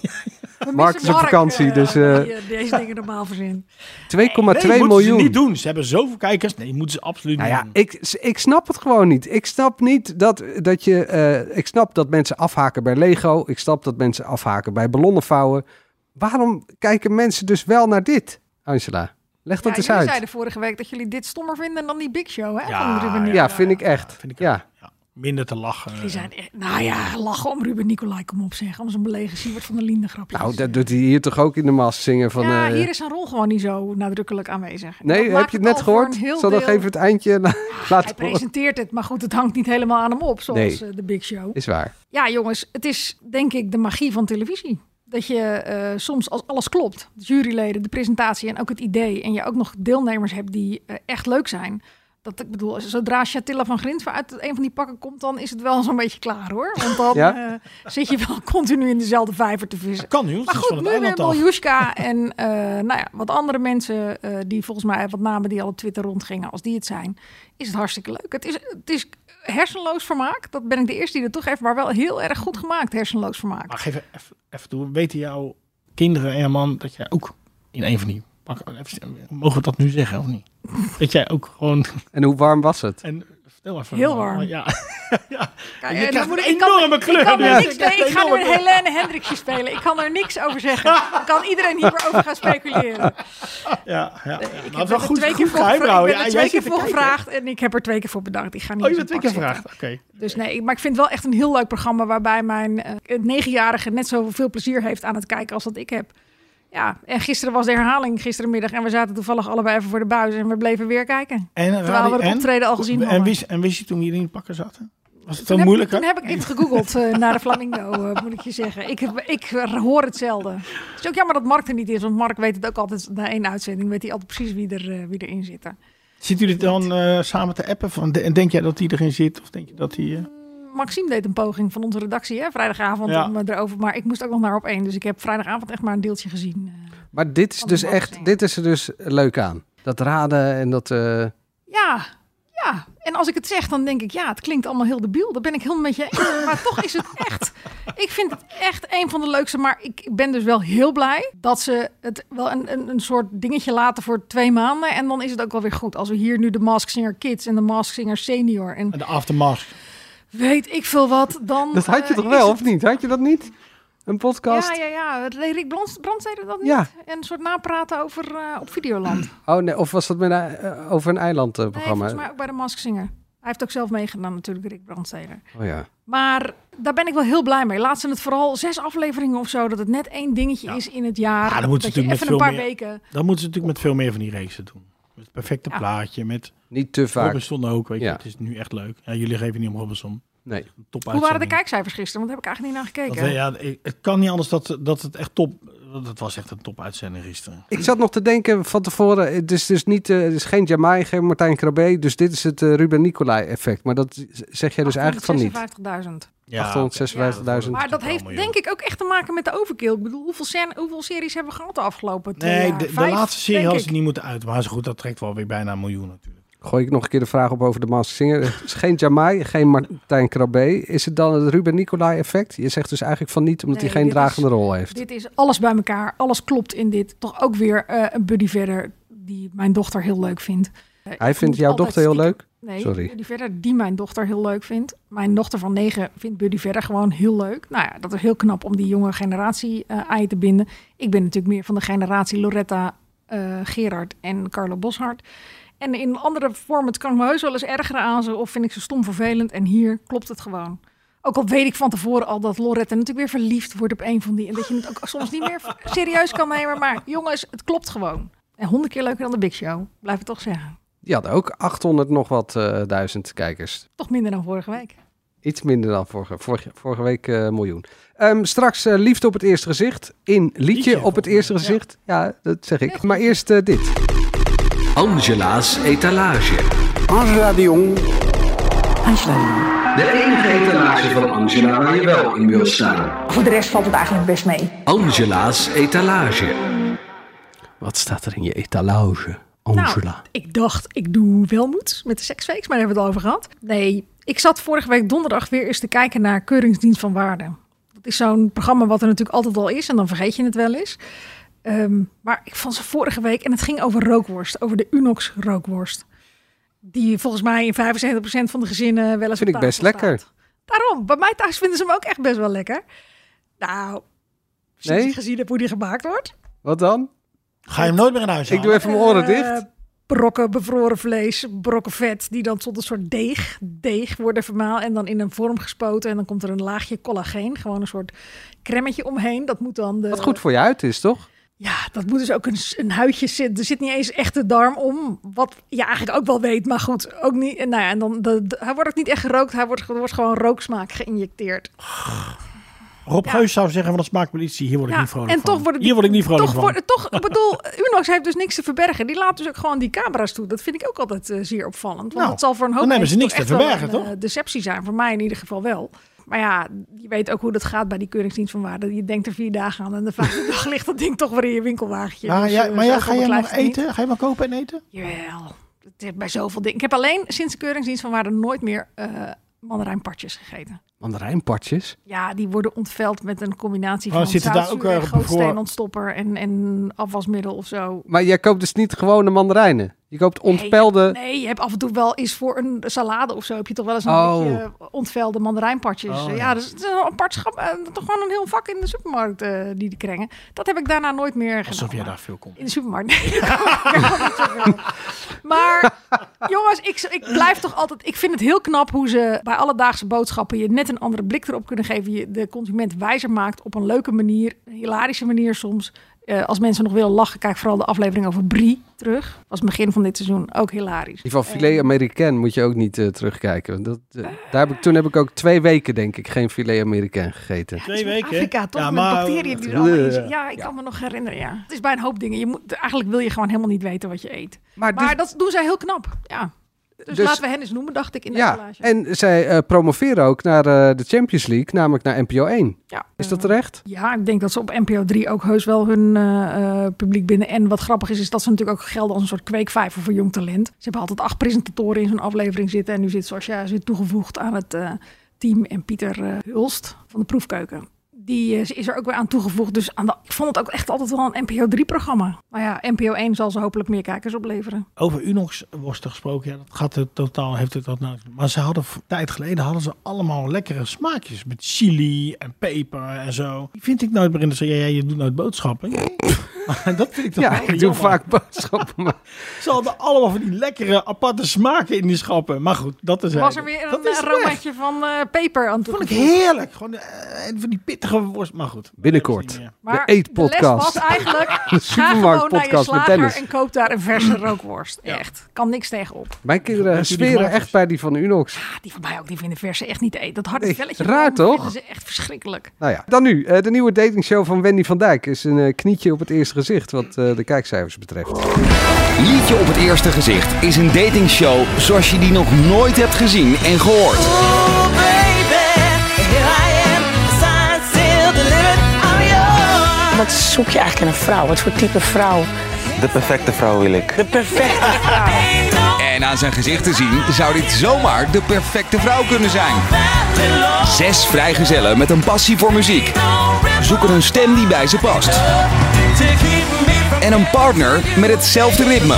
Mark
missen
is op vakantie,
eh,
dus,
die,
eh,
eh, deze dingen normaal verzin.
2,2
nee, moeten
miljoen.
Ze niet doen. Ze hebben zoveel kijkers. Nee, moeten ze absoluut
Nou ja,
niet doen.
ik, ik snap het gewoon niet. Ik snap niet dat, dat je. eh, ik snap dat mensen afhaken bij Lego. Ik snap dat mensen afhaken bij ballonnen vouwen. Waarom kijken mensen dus wel naar dit, Angela? Leg dat
ja,
eens
jullie
uit.
zeiden vorige week dat jullie dit stommer vinden dan die Big Show, hè?
Ah, Ja,
van Ruben
ja,
Nicolai.
vind ik echt.
vind ik
ja.
Minder te lachen.
Die zijn echt, nou ja, lachen om Ruben Nicolai, kom op zeg. Om zijn belegen Siewert van der Linden grapjes.
Nou, dat doet hij hier toch ook in de mas zingen van.
ja,
eh,
hier is zijn rol gewoon niet zo nadrukkelijk aanwezig. En dat
nee, heb
maakt
je het net
al voor
gehoord?
een heel
Zal nog
deel-
even het eindje la-
Hij
laten horen?
presenteert het, maar goed, het hangt niet helemaal aan hem op, zoals
Nee.
eh, de Big Show.
Is waar.
Ja, jongens, het is denk ik de magie van televisie. dat je eh, soms als alles klopt, de juryleden, de presentatie en ook het idee, en je ook nog deelnemers hebt die eh, echt leuk zijn. Dat ik bedoel, zodra Chatilla van Grins uit een van die pakken komt, dan is het wel zo'n beetje klaar hoor. Want dan
Ja?
eh, zit je wel continu in dezelfde vijver te vissen.
Kan nu, want
maar
het is
goed,
van het
nu weer
eiland af.
Miljuska en eh, nou ja, wat andere mensen eh, die volgens mij wat namen die al op Twitter rondgingen, als die het zijn, is het hartstikke leuk. Het is, het is hersenloos vermaak. Dat ben ik de eerste die er toch heeft, maar wel heel erg goed gemaakt hersenloos vermaak.
Maar geef even, even toe. Weten jouw kinderen en jouw man dat jij ook in een van die pakken... even- Mogen we dat nu zeggen of niet? Dat jij ook gewoon...
En hoe warm was het?
En vertel even.
Heel warm.
Ja.
Kijk,
Je
eh,
krijgt
moet
een
ik kan-
enorme
ik
kleur
kan er
nu.
niks-
Je krijgt
nee, ik ga nu
enorme
een
kleur.
Helene Hendrikje spelen. Ik kan er niks over zeggen. Dan kan iedereen hierover gaan speculeren.
Ja, ja. Ik
Ik heb er twee keer voor, gevra- ik ben er twee keer voor gevraagd en ik heb er twee keer voor bedankt. Ik ga niet
Oh, je
eens
bent twee
in
keer
pak
gevraagd. Oké.
zitten. Dus nee, ik- maar ik vind het wel echt een heel leuk programma waarbij mijn eh, negenjarige net zoveel plezier heeft aan het kijken als dat ik heb. Ja, en gisteren was de herhaling gisterenmiddag en we zaten toevallig allebei even voor de buis en we bleven weer kijken.
En,
Terwijl we het
en-
optreden al gezien
en
hadden.
wist, en wist je toen jullie in de pakken zaten? Was het
Toen
veel
heb-
moeilijker?
Toen heb ik even gegoogeld eh, naar de Flamingo, eh, moet ik je zeggen. Ik, heb- ik hoor het zelden. Het is ook jammer dat Mark er niet is, want Mark weet het ook altijd. Na één uitzending weet hij altijd precies wie, er, eh, wie erin zitten.
Zitten jullie dan eh, samen te appen? Van, de- en denk jij dat hij erin zit? Of denk je dat hij... eh,
Maxime deed een poging van onze redactie, hè, vrijdagavond,
Ja.
om eh, erover. Maar ik moest ook nog naar op één, dus ik heb vrijdagavond echt maar een deeltje gezien. eh.
Maar dit is dus echt, dit is er dus leuk aan. Dat raden en dat... eh,
Ja, ja. En als ik het zeg, dan denk ik, ja, het klinkt allemaal heel debiel. Daar ben ik helemaal met je eens. Maar toch is het echt... Ik vind het echt een van de leukste. Maar ik ben dus wel heel blij dat ze het wel een, een, een soort dingetje laten voor twee maanden. En dan is het ook wel weer goed. Als we hier nu de Mask Singer Kids en de Mask Singer Senior en
de aftermask.
weet ik veel wat, dan...
dat Dus had je
eh,
toch
is
wel,
het-
of niet? Had je dat niet? Een podcast?
Ja, ja, ja. Het- Rick Brand, Brand zei dat niet.
Ja.
En een soort napraten over eh, op Videoland. Nee,
Oh nee, of was dat met een, eh, over een eilandprogramma?
volgens mij ook bij de Mask Singer. Hij heeft ook zelf meegedaan natuurlijk, Rick Brandsteder.
Oh ja.
Maar daar ben ik wel heel blij mee. Laat ze het vooral zes afleveringen of zo, dat het net één dingetje is in het jaar.
Ah, dan moeten ze
dat je
natuurlijk met
even een
veel
paar
meer-
weken.
Dan moeten ze natuurlijk met veel meer van die races doen. Met het perfecte plaatje, met...
Niet te vaak.
Robinson ook, weet je.
Ja.
Het is nu echt leuk. Ja, jullie geven niet om Robinson.
Nee.
Top
Hoe waren de kijkcijfers gisteren? Want daar heb ik eigenlijk niet naar
Dat,
gekeken.
we- ja, ik- het kan niet anders dat, dat het echt top... Dat was echt een top uitzending gisteren.
Ik zat nog te denken van tevoren, het is dus niet, eh, het is geen Jamai, geen Martijn Krabbe, dus dit is het eh, Ruben Nicolai effect. Maar dat z- zeg jij dus eigenlijk van niet.
56.000.
Ja, 856.000.
Maar dat heeft denk ik ook echt te maken met de overkill. Ik bedoel, hoeveel, scène- hoeveel series hebben we gehad de afgelopen twee
Nee,
jaar?
de, de
Vijf,
laatste serie
denk
hadden
ik.
ze niet moeten uit. Maar zo goed, dat trekt wel weer bijna een miljoen natuurlijk.
Gooi ik nog een keer de vraag op over de Masked Singer. Het is geen Jamai, geen Martijn Krabbe. Is het dan het Ruben Nicolai effect? Je zegt dus eigenlijk van niet, omdat
Nee,
hij geen
dit
dragende
is-
rol heeft.
Dit is alles bij elkaar. Alles klopt in dit. Toch ook weer eh, een buddy verder die mijn dochter heel leuk vindt. Eh,
Hij
ik
vindt
moet
jouw
altijd
dochter heel
stiekem-
leuk?
Nee,
Sorry.
buddy verder die mijn dochter heel leuk vindt. Mijn dochter van negen vindt buddy verder gewoon heel leuk. Nou ja, dat is heel knap om die jonge generatie eh, aan je te binden. Ik ben natuurlijk meer van de generatie Loretta eh, Gerard en Carlo Boshart. En in andere vormen kan ik me heus wel eens ergeren aan ze. Of vind ik ze stom vervelend. En hier klopt het gewoon. Ook al weet ik van tevoren al dat Loretta natuurlijk weer verliefd wordt op een van die. En dat je het ook soms niet meer serieus kan nemen. Maar jongens, het klopt gewoon. En honderd keer leuker dan de Big Show. Blijf het toch zeggen.
Die had ook 800 nog wat eh, duizend kijkers.
Toch minder dan vorige week.
Iets minder dan vorige, vorige, vorige week eh, een miljoen. Ehm, straks eh, Liefde op het eerste gezicht. In Liedje, op het eerste gezicht. Ja. dat zeg ik. Maar eerst eh, dit.
Angela's etalage.
Angela de Jong.
De enige etalage van Angela waar je wel in wil staan.
Voor de rest valt het eigenlijk best mee.
Angela's etalage.
Wat staat er in je etalage,
Nou, ik dacht, ik doe wel moed met de seksfakes, maar daar hebben we het al over gehad. Nee, ik zat vorige week donderdag weer eens te kijken naar Keuringsdienst van Waarde. Dat is zo'n programma wat er natuurlijk altijd al is en dan vergeet je het wel eens. Ehm, maar ik vond ze vorige week en het ging over rookworst, over de Unox rookworst. Die volgens mij in 75% van de gezinnen wel eens
Vind ik
op
best
tafel
lekker.
staat. Daarom, bij mij thuis vinden ze hem ook echt best wel lekker. Nou, sinds
Nee?
ik gezien heb hoe die gemaakt wordt.
Wat dan?
Ga je hem nooit meer in huis
Ik doe even mijn oren
Eh,
dicht.
Brokken bevroren vlees, brokken vet, die dan tot een soort deeg, deeg worden vermaald en dan in een vorm gespoten. En dan komt er een laagje collageen, gewoon een soort cremmetje omheen. Dat moet dan de,
Wat goed voor je uit is, toch?
ja, dat moet dus ook een, s- een huidje zitten. Er zit niet eens echt de darm om. Wat je eigenlijk ook wel weet, maar goed, ook niet. En, nou ja, en dan, de, de- hij wordt ook niet echt gerookt. Hij wordt, er wordt gewoon rooksmaak geïnjecteerd.
Rob Geus zou zeggen van de smaakpolitie, hier word ik niet vrolijk
en
van.
toch worden die-
hier word ik niet vrolijk
toch,
van.
worden- toch, ik bedoel, Unox heeft dus niks te verbergen. Die laat dus ook gewoon die camera's toe. Dat vind ik ook altijd eh, zeer opvallend. Want
Nou,
dat zal voor een hoop
dan hebben ze
mensen
niks
toch
te
echt wel
verbergen,
een, eh, deceptie zijn. Voor mij in ieder geval wel. Maar ja, je weet ook hoe dat gaat bij die keuringsdienst van waarde. Je denkt er vier dagen aan en de vijfde dag ligt dat ding toch weer in je winkelwagentje.
Ja,
Dus,
ja,
eh,
maar
zo
ja, ga jij
gemakkelijk
nog
lijkt het niet.
eten? Ga je wel kopen en eten?
Jawel, het is bij zoveel dingen. Ik heb alleen sinds de keuringsdienst van waarde nooit meer eh mandarijnpartjes gegeten.
Mandarijnpartjes?
Ja, die worden ontveld met een combinatie
Oh,
van
zitten daar
zoutzuur
ook, eh,
en gootsteenontstopper en, en afwasmiddel of zo.
Maar jij koopt dus niet gewone mandarijnen. Je koopt ontpelde...
Nee, nee, je hebt af en toe wel eens voor een salade of zo... heb je toch wel eens een
Oh.
beetje eh, ontvelde mandarijnpartjes. Eh,
Oh,
ja,
ja.
dat is, dat is een apart schap. eh, toch gewoon een heel vak in de supermarkt eh, die die krengen. Dat heb ik daarna nooit meer gedaan.
Alsof jij daar veel komt.
In de supermarkt. Nee, ik kan niet zoveel. maar jongens, ik, ik blijf toch altijd. Ik vind het heel knap hoe ze bij alledaagse boodschappen je net een andere blik erop kunnen geven. Je de consument wijzer maakt op een leuke manier, een hilarische manier soms. Eh, als mensen nog willen lachen, kijk vooral de aflevering over Brie terug. Was het begin van dit seizoen ook hilarisch.
Die van filet Amerikaan moet je ook niet eh, terugkijken. want Dat, eh, daar heb ik, toen heb ik ook twee weken, denk ik, geen filet Amerikaan gegeten.
Twee weken.
Afrika, toch?
Ja,
met
maar-
bacteriën die er allemaal
Eh,
in zitten. Ja, ik kan me nog herinneren, ja. Het is bij een hoop dingen. Je moet, eigenlijk wil je gewoon helemaal niet weten wat je eet. Maar, dat doen zij heel knap, ja. Dus,
Dus-
laten we hen eens noemen, dacht ik in de
Ja,
collage.
en zij eh, promoveren ook naar eh, de Champions League, namelijk naar NPO 1.
Ja.
Is dat terecht?
Ja, ik denk dat ze op NPO 3 ook heus wel hun eh, eh, publiek binden. En wat grappig is, is dat ze natuurlijk ook gelden als een soort kweekvijver voor jong talent. Ze hebben altijd acht presentatoren in zo'n aflevering zitten. En nu zit Sascha zit toegevoegd aan het eh, team. En Pieter eh, Hulst van de Proefkeuken. Die eh, is er ook weer aan toegevoegd. Dus aan de, ik vond het ook echt altijd wel een NPO 3-programma. Maar ja, NPO 1 zal ze hopelijk meer kijkers opleveren.
Over Unox worsten gesproken, ja, dat gaat het totaal, heeft het dat nou. Maar ze hadden een tijd geleden hadden ze allemaal lekkere smaakjes met chili en peper en zo. Die vind ik nooit meer in de serie. Ja, je doet nooit boodschappen. dat vind ik toch
Ja,
wel
ik doe
jammer.
vaak boodschappen. maar-
Ze hadden allemaal van die lekkere aparte smaken in die schappen. Maar goed, dat is
Was er weer
Dat
een
is weg.
aromaatje van eh, peper aan
Vond ik
toegevoegd?
heerlijk. Gewoon eh, van die pittige worst. Maar goed.
Binnenkort.
eh,
Maar
de
les
eetpodcast.
was eigenlijk,
De
ga gewoon naar je
supermarktpodcast met
slager
Dennis.
en koop daar een verse rookworst. Echt, kan niks tegenop. Ah,
Mijn kinderen
Heeft u die
zweren
gemaakt?
echt bij die van Unox.
Die van mij ook, die vinden verse echt niet te eten. Dat harde
Nee,
velletje
raar
ervan
toch?
vinden ze echt verschrikkelijk.
Nou ja, dan nu. eh, de nieuwe datingshow van Wendy van Dijk is een eh, knietje op het eerste gezicht wat eh, de kijkcijfers betreft.
Liedje op het eerste gezicht is een datingshow zoals je die nog nooit hebt gezien en gehoord.
Wat zoek je eigenlijk in een vrouw? Wat voor type vrouw?
De perfecte vrouw wil ik.
De perfecte vrouw.
En aan zijn gezicht te zien zou dit zomaar de perfecte vrouw kunnen zijn. Zes vrijgezellen met een passie voor muziek. Zoeken een stem die bij ze past. En een partner met hetzelfde ritme.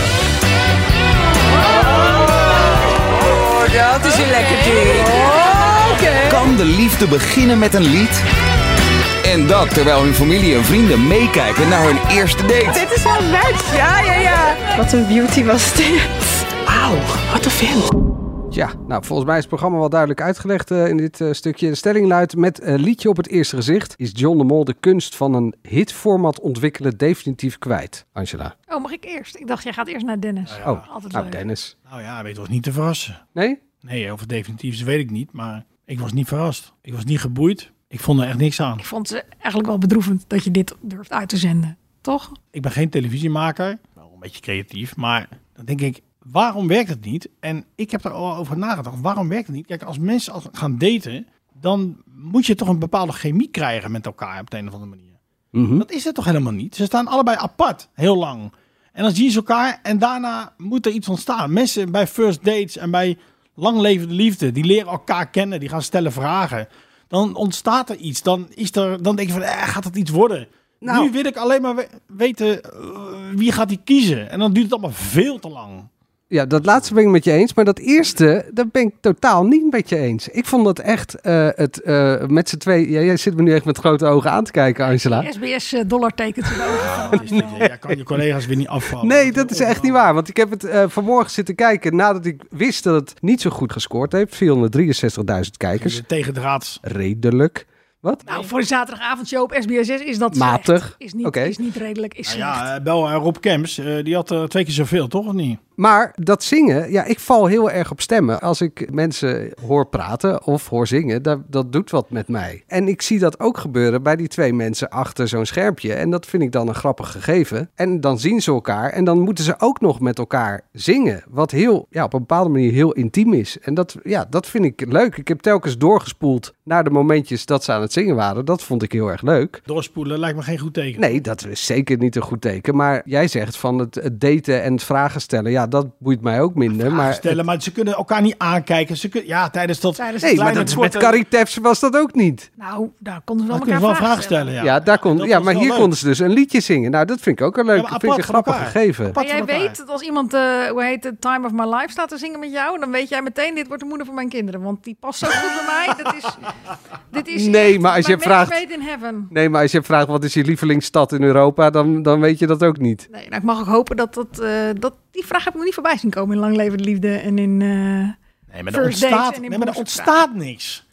Dat is een lekker dier. Oké.
Kan de liefde beginnen met een lied? En dat terwijl hun familie en vrienden meekijken naar hun eerste date.
Dit is wel match. Ja, ja, ja. Wat een beauty was dit. Wauw, wat een film.
Ja, nou volgens mij is het programma wel duidelijk uitgelegd eh, in dit eh, stukje. De stelling luidt met eh, liedje op het eerste gezicht is John de Mol de kunst van een hitformat ontwikkelen definitief kwijt. Angela.
Oh, mag ik eerst? Ik dacht, jij gaat eerst naar Dennis.
Oh,
Altijd
nou
leuk.
Dennis.
Nou ja, weet was niet te verrassen.
Nee?
Nee, of het definitief is, weet ik niet. Maar ik was niet verrast. Ik was niet geboeid. Ik vond er echt niks aan.
Ik vond ze eigenlijk wel bedroevend dat je dit durft uit te zenden. Toch?
Ik ben geen televisiemaker. Wel een beetje creatief. Maar dan denk ik, waarom werkt het niet? En ik heb er al over nagedacht. Waarom werkt het niet? Kijk, als mensen al gaan daten, dan moet je toch een bepaalde chemie krijgen met elkaar op de een of andere manier. Dat is het toch helemaal niet? Ze staan allebei apart, heel lang. En dan zien ze elkaar en daarna moet er iets ontstaan. Mensen bij first dates en bij langlevende liefde, die leren elkaar kennen, die gaan stellen vragen. Dan ontstaat er iets. Dan, is er, dan denk je van, eh, gaat het iets worden?
Nou.
nu wil ik alleen maar we- weten eh, wie gaat die kiezen. En dan duurt het allemaal veel te lang.
Ja, dat laatste ben ik met je eens. Maar dat eerste, dat ben ik totaal niet met je eens. Ik vond dat echt eh, het eh, met z'n twee. Ja, jij zit me nu echt met grote ogen aan te kijken, Angela.
SBS eh, dollartekens in de
Ah.
ogen. van, eh,
Jij kan je collega's weer niet afvallen.
Nee, dat is echt niet waar. Want ik heb het eh, vanmorgen zitten kijken nadat ik wist dat het niet zo goed gescoord heeft. 463.000 kijkers.
Tegendraads.
Redelijk. Wat?
Nou, voor een zaterdagavondshow op SBS 6 is dat
Matig.
slecht. Is niet,
Oké.
is niet redelijk, is
Nou
slecht.
ja, eh, bel eh, Rob Kems. eh, die had eh, twee keer zoveel, toch? Of niet?
Maar dat zingen, ja, ik val heel erg op stemmen. Als ik mensen hoor praten of hoor zingen, dat, dat doet wat met mij. En ik zie dat ook gebeuren bij die twee mensen achter zo'n schermpje. En dat vind ik dan een grappig gegeven. En dan zien ze elkaar en dan moeten ze ook nog met elkaar zingen. Wat heel, ja, op een bepaalde manier heel intiem is. En dat, ja, dat vind ik leuk. Ik heb telkens doorgespoeld naar de momentjes dat ze aan het zingen waren. Dat vond ik heel erg leuk.
Doorspoelen lijkt me geen goed teken.
Nee, dat is zeker niet een goed teken. Maar jij zegt van het, het daten en het vragen stellen. Ja, dat boeit mij ook minder. Maar
Stellen, maar ze kunnen elkaar niet aankijken. Ze kunnen, ja, tijdens dat... Tijdens
nee, maar dat is met Caritabs was dat ook niet.
Nou, daar konden ze wel
Dat kunnen we wel
elkaar vragen
vragen
stellen.
stellen,
Ja,
ja.
daar kon,
dat
ja
is
maar
wel
hier
leuk.
konden ze dus een liedje zingen. Nou, dat vind ik ook een leuk.
maar
vind ik een
apart van
grappig
elkaar.
gegeven.
Maar jij weet dat als iemand, eh, hoe heet het, Time of My Life staat te zingen met jou, dan weet jij meteen, dit wordt de moeder van mijn kinderen. Want die past zo goed bij mij. Dat is, dit is
Nee,
echt
maar als je
mijn match
vraagt-
made in heaven.
Nee, maar als je vraagt wat is je lievelingsstad in Europa, dan, dan weet je dat ook niet.
Nee, nou, ik mag ook hopen dat, dat, eh, dat die vraag heb ik nog niet voorbij zien komen in Lang Leven de Liefde en in eh
Nee, maar er
First Dates
ontstaat,
en in
nee, maar er
Broers op
ontstaat niks. Er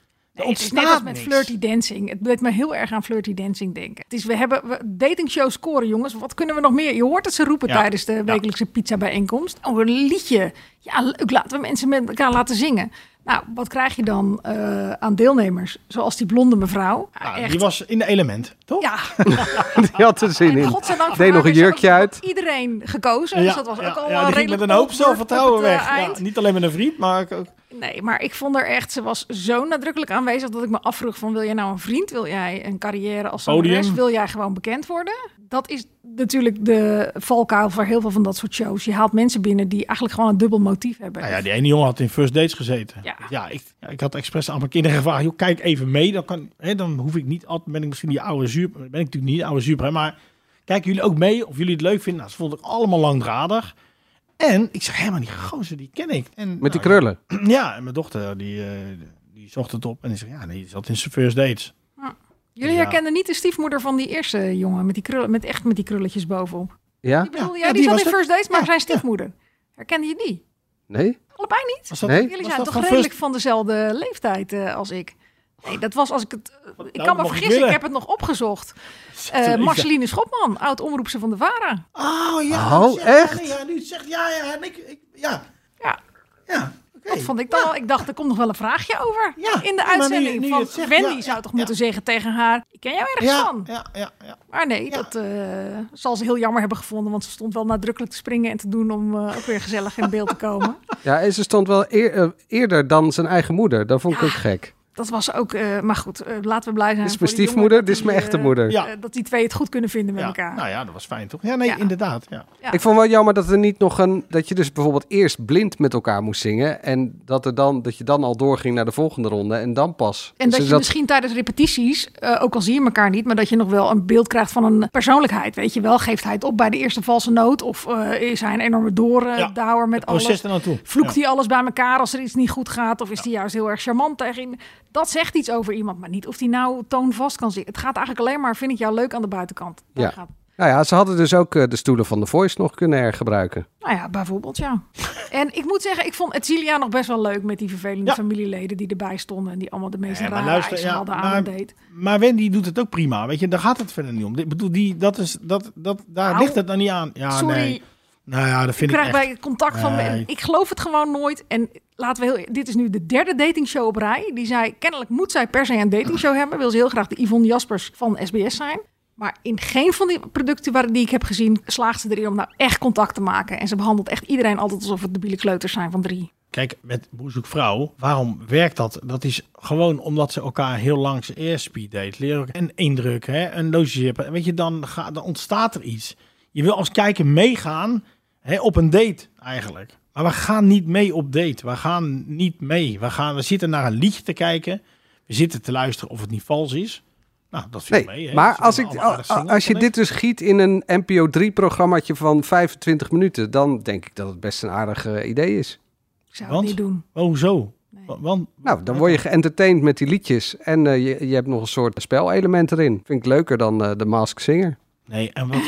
Nee, het is
ontstaat
net als met
niks.
flirty dancing. Het deed me heel erg aan flirty dancing denken. Het is, we hebben we, dating shows scoren, jongens. Wat kunnen we nog meer? Je hoort het ze roepen
Ja,
tijdens de wekelijkse pizza bijeenkomst. Oh, een liedje. Ja, leuk. Laten we mensen met elkaar laten zingen. Nou, wat krijg je dan eh, aan deelnemers? Zoals die blonde mevrouw. Ja,
Die was in de element.
toch? Ja,
Die had er zin in.
godzijdank voor
Deed nog
haar
een
is er
jurkje uit.
iedereen gekozen. dus
Ja,
dat was ook
ja, ja,
al eh,
die ging
redelijk
met een hoop
op- op
zelfvertrouwen
het, eh,
weg. Ja,
eind.
niet alleen met een vriend, maar ook... ook-
Nee, maar ik vond haar echt, ze was zo nadrukkelijk aanwezig dat ik me afvroeg van wil jij nou een vriend? Wil jij een carrière als
Podium.
zangeres? Wil jij gewoon bekend worden? Dat is natuurlijk de valkuil voor heel veel van dat soort shows. Je haalt mensen binnen die eigenlijk gewoon een dubbel motief hebben.
Nou ja, die ene jongen had in First Dates gezeten.
Ja.
ik, ja, ik had expres aan mijn kinderen gevraagd, joh, kijk even mee. Dan, kan, hè, dan hoef ik niet altijd, ben ik misschien die oude zuur... Ben ik natuurlijk niet de oude zuur, maar kijken jullie ook mee of jullie het leuk vinden? Nou, ze vonden ik allemaal langdradig. En ik zeg, hé, maar die gozer, die ken ik. En, nou,
Met die krullen.
Ja, en mijn dochter, die, eh, die zocht het op. En die zegt, ja, nee, die zat in zijn First Dates.
Jullie
Ja.
herkenden niet de stiefmoeder van die eerste jongen met, die krullen, met echt met die krulletjes bovenop.
Ja?
Ik bedoel,
ja,
ja, die
die
zat
was
in
het.
First Dates, maar zijn stiefmoeder. Herkende je die?
Nee?
Allebei niet?
Was dat- Nee.
Jullie
was
zijn
dat
toch
van
redelijk
First-
van dezelfde leeftijd eh, als ik? Nee, dat was als ik het... ik
nou,
kan
mag ik
me vergissen, ik
willen?
heb het nog opgezocht.
een
Eh
liefde.
Marceline Schopman, oud-omroepse van de VARA.
Oh
ja, Oh, dat zegt- echt?
Ja, nu zegt, ja, ja, en ik, ja.
Ja.
Ja,
Dat vond ik dan wel. Ik dacht, er komt nog wel een vraagje over in de
maar nu-
uitzending.
nu je
van
het zegt,
Wendy
ja,
zou toch moeten zeggen tegen haar, ik ken jou ergens
Ja,
van.
Ja, ja, ja.
Maar nee, dat eh, zal ze heel jammer hebben gevonden. Want ze stond wel nadrukkelijk te springen en te doen om eh, ook weer gezellig in beeld te komen.
Ja, en ze stond wel eer- eh, eerder dan zijn eigen moeder. Dat vond ik ook gek.
Dat was ook, eh, maar goed, eh, laten we blij zijn.
Dit is
voor
mijn
die jongen
stiefmoeder,
dat
dit is mijn
die,
echte
eh,
moeder.
eh, dat die twee het goed kunnen vinden met elkaar.
Nou ja, dat was fijn toch? Ja, nee, inderdaad. Ja.
Ja.
Ik vond wel jammer dat er niet nog een. Dat je dus bijvoorbeeld eerst blind met elkaar moest zingen. En dat, er dan, dat je dan al doorging naar de volgende ronde. En dan pas.
En dat
Dus
je misschien tijdens repetities, eh, ook al zie je elkaar niet, maar dat je nog wel een beeld krijgt van een persoonlijkheid. Weet je wel, geeft hij het op bij de eerste valse noot? Of eh, is hij een enorme doordouwer met
Proces
alles?
er naartoe.
Vloekt
Ja.
hij alles bij elkaar als er iets niet goed gaat? Of is hij juist heel erg charmant tegen? Dat zegt iets over iemand, maar niet of hij nou toonvast kan zitten. Het gaat eigenlijk alleen maar, vind ik jou leuk aan de buitenkant. Daar
Ja.
gaat-
Nou ja, ze hadden dus ook eh, de stoelen van The Voice nog kunnen hergebruiken.
Nou ja, bijvoorbeeld ja. en ik moet zeggen, ik vond Etzilia nog best wel leuk met die vervelende familieleden die erbij stonden. En die allemaal de meeste
Ja, maar
rare
luister,
eisen
ja,
hadden aan
maar-
het date.
Maar Wendy doet het ook prima, weet je. Daar gaat het verder niet om. Ik bedoel, die, dat is, dat, dat, daar
Nou,
ligt het dan niet aan. Ja,
sorry.
Nee. Nou ja, dat vind
ik
ik
krijg
echt.
bij het contact van
Nee.
Ik geloof het gewoon nooit. En laten we heel. e-, Dit is nu de derde datingshow op rij. Die zei: kennelijk moet zij per se een datingshow hebben. Wil ze heel graag de Yvonne Jaspers van SBS zijn. Maar in geen van die producten waar, die ik heb gezien, slaagt ze erin om nou echt contact te maken. En ze behandelt echt iedereen altijd alsof het debiele kleuters zijn van drie.
Kijk, met Boer zoekt vrouw, waarom werkt dat? Dat is gewoon omdat ze elkaar heel langs eerst speed date leren. En indruk, hè, een logeerpen. Weet je, dan, ga, dan ontstaat er iets. Je wil als kijker meegaan hè, op een date eigenlijk. Maar we gaan niet mee op date. We gaan niet mee. We, gaan, we zitten naar een liedje te kijken. We zitten te luisteren of het niet vals is. Nou, dat viel
Nee,
mee. Hè.
maar
Ze
als, ik,
kunnen allemaal aardig zingen,
als je
vond
dit
ik.
dus giet in een NPO 3-programmaatje van 25 minuten, dan denk ik dat het best een aardig eh, idee is.
Ik zou
Want?
het niet doen.
Oh, zo. Wa- Want,
Nou, dan word je geëntertaind met die liedjes en eh, je, je hebt nog een soort spelelement erin. Vind ik leuker dan eh The Mask Singer.
Nee, en wat...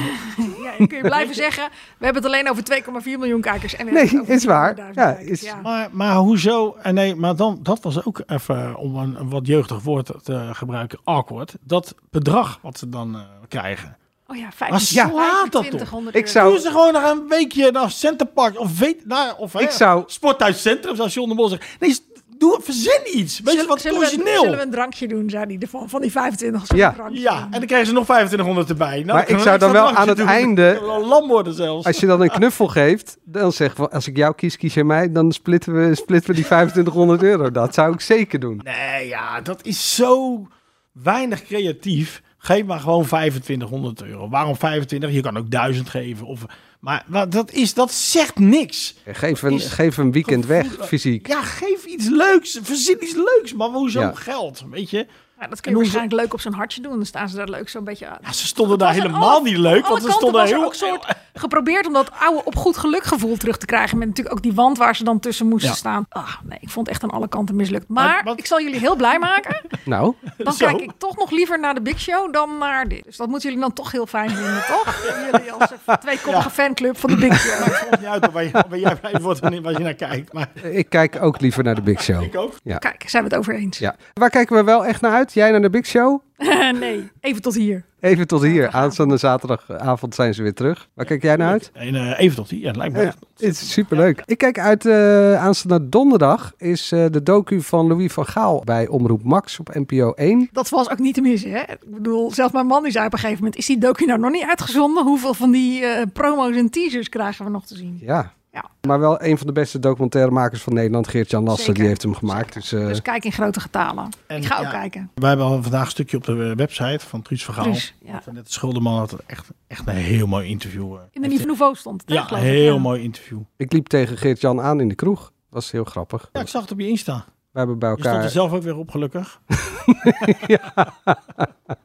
Ja, en kun je blijven zeggen: we hebben het alleen over 2,4 miljoen kijkers. En we
Nee,
hebben het over
is waar.
400.000
Ja,
kijkers.
is-
Maar, maar hoezo? En nee, maar dan, dat was ook even, om een, een wat jeugdig woord te gebruiken, awkward. Dat bedrag wat ze dan eh, krijgen.
Oh ja, 5
Maar slaat dat toch?
Ik zou-
Doe ze gewoon nog een weekje naar Centerpark of weet naar of eh,
Ik zou-
Sporthuiscentrum, zoals John de Mol zegt. Nee, s- doe verzin iets. Weet je wat
zullen, we,
origineel.
zullen we een drankje doen, zei hij ervan. Van die 25 zullen
Ja.
we een drankje
Ja, en dan krijgen ze nog 2500 erbij. Nou,
Maar
kan
ik
een
zou
extra
dan wel
drankje
aan het
doen.
einde-
Ik wil Lam worden zelfs.
Als je dan een knuffel geeft, dan zeg je, als ik jou kies, kies je mij. Dan splitten we, splitten we die 2500 euro. Dat zou ik zeker doen.
Nee, ja, dat is zo weinig creatief. Geef maar gewoon 2500 euro. Waarom 25? Je kan ook 1000 geven. Of, maar maar dat, is, dat zegt niks.
Geef een,
Is-
geef een weekend weg, fysiek.
Ja, geef iets leuks. Verzin iets leuks. Maar hoezo
Ja.
geld? Weet je?
Ja, dat kun je
En hoe ze-
waarschijnlijk leuk op zo'n hartje doen. Dan staan ze daar leuk zo'n beetje aan.
Ja, ze stonden daar helemaal niet leuk. Want ze stonden
was er
heel...
ook soort geprobeerd om dat oude op goed geluk gevoel terug te krijgen. Met natuurlijk ook die wand waar ze dan tussen moesten
Ja.
staan. Ah, nee, ik vond het echt aan alle kanten mislukt. Maar ik zal jullie heel blij maken.
Nou,
Dan
Zo.
kijk ik toch nog liever naar de Big Show dan naar dit. Dus dat moeten jullie dan toch heel fijn vinden, toch? Jullie als eh, tweekoppige
Ja.
fanclub van de Big Show.
Maakt soms niet uit op waar, je, waar jij blij wordt en waar je naar kijkt. Maar
ik kijk ook liever naar de Big Show.
ik ook.
Ja.
Kijk, zijn we het over eens?
Ja. Waar kijken we wel echt naar uit? Jij naar de Big Show?
nee, even tot hier.
Even tot hier. Aanstaande zaterdagavond zijn ze weer terug. Waar kijk jij naar uit?
En, eh, even tot hier. Ja, het lijkt me echt.
Het is superleuk. Ik kijk uit eh, aanstaande donderdag is eh, de docu van Louis van Gaal bij Omroep Max op NPO 1.
Dat was ook niet te missen. Hè? Ik bedoel, zelfs mijn man die zei op een gegeven moment: Is die docu nou nog niet uitgezonden? Hoeveel van die eh, promo's en teasers krijgen we nog te zien?
Ja.
Ja.
Maar wel een van de beste documentairemakers van Nederland, Geert-Jan Lassen,
Zeker.
die heeft hem gemaakt. Dus, eh,
Dus kijk in grote getalen. ik ga ook
ja. nou,
kijken.
Wij hebben al vandaag een stukje op de eh, website van Truus Vergaal.
Truus, ja.
Van net Schulderman had echt, echt een heel mooi interview. eh.
In de Nieuwe Nouveau stond het. hè,
Ja,
geloof ik,
heel
ja.
mooi interview.
ik liep tegen Geert-Jan aan in de kroeg. Was heel grappig.
Ja, ik zag het op je Insta.
We hebben bij
Je stond er
elkaar.
zelf ook weer op, gelukkig.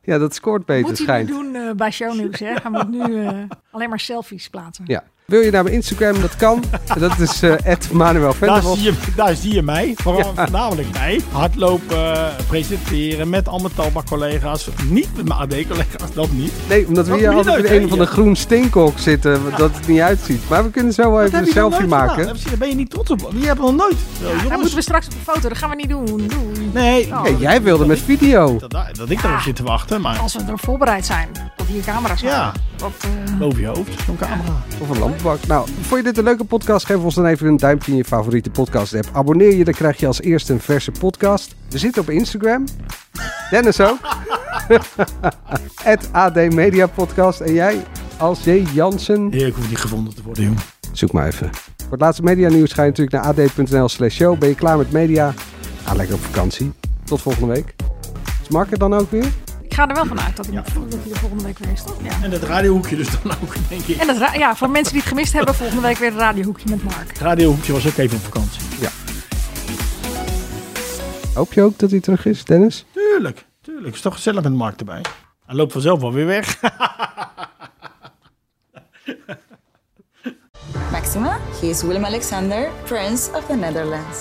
Ja, dat scoort beter
Moet hij nu
schijnt.
doen eh, bij shownieuws. Hè? Gaan we nu eh, alleen maar selfies plaatsen.
Ja. Wil je naar mijn Instagram? Dat kan. Dat is eh Manuel
Daar
Venderbos.
zie, je, daar zie je mij. Vooral voornamelijk mij. Hardlopen, eh, presenteren met allemaal talbak collega's. Niet met mijn AD-collega's, dat niet.
Nee, omdat we
Dat
hier
moet je
altijd
nooit,
in
hè?
een van de groen steenkok zitten, dat het niet uitziet. Maar we kunnen zo wel
Dat
even
heb
een
je nog
selfie
nooit gedaan.
maken.
Daar ben je- Daar ben je niet trots op. Je hebt nog nooit. Zo,
Ja, daar
jongens.
moeten we straks op de foto. Dat gaan we niet doen. Doei.
Nee,
Oh.
Hey, jij wilde met video.
dat, dat- dat ik daarop zit te wachten, maar
Als we er voorbereid zijn. Dat hier camera's zijn.
Ja.
Dat, eh,
boven je hoofd, zo'n camera.
Of een lampbak. Nou, vond je dit een leuke podcast? Geef ons dan even een duimpje in je favoriete podcast app. Abonneer je, dan krijg je als eerste een verse podcast. We zitten op Instagram. Dennis ook. Het AD Media Podcast. En jij als J. Jansen.
Heer, ik hoef niet gevonden te worden, jongen.
Zoek maar even. Voor het laatste medianieuws ga je natuurlijk naar ad.nl slash show. Ben je klaar met media? Ga lekker op vakantie. Tot volgende week. Is Mark er dan ook weer?
ik ga er wel van uit dat hij dat hij er volgende week weer is. Toch? Ja.
En dat radiohoekje dus dan ook, denk ik.
En dat, ra- ja, voor mensen die het gemist hebben, volgende week weer een radiohoekje met Mark.
Het radiohoekje was ook even op vakantie.
Hoop je ook dat hij terug is, Dennis?
Tuurlijk, tuurlijk. Is toch gezellig met Mark erbij. Hij loopt vanzelf wel weer weg.
Maxima, he is Willem Alexander, Prince of the Netherlands.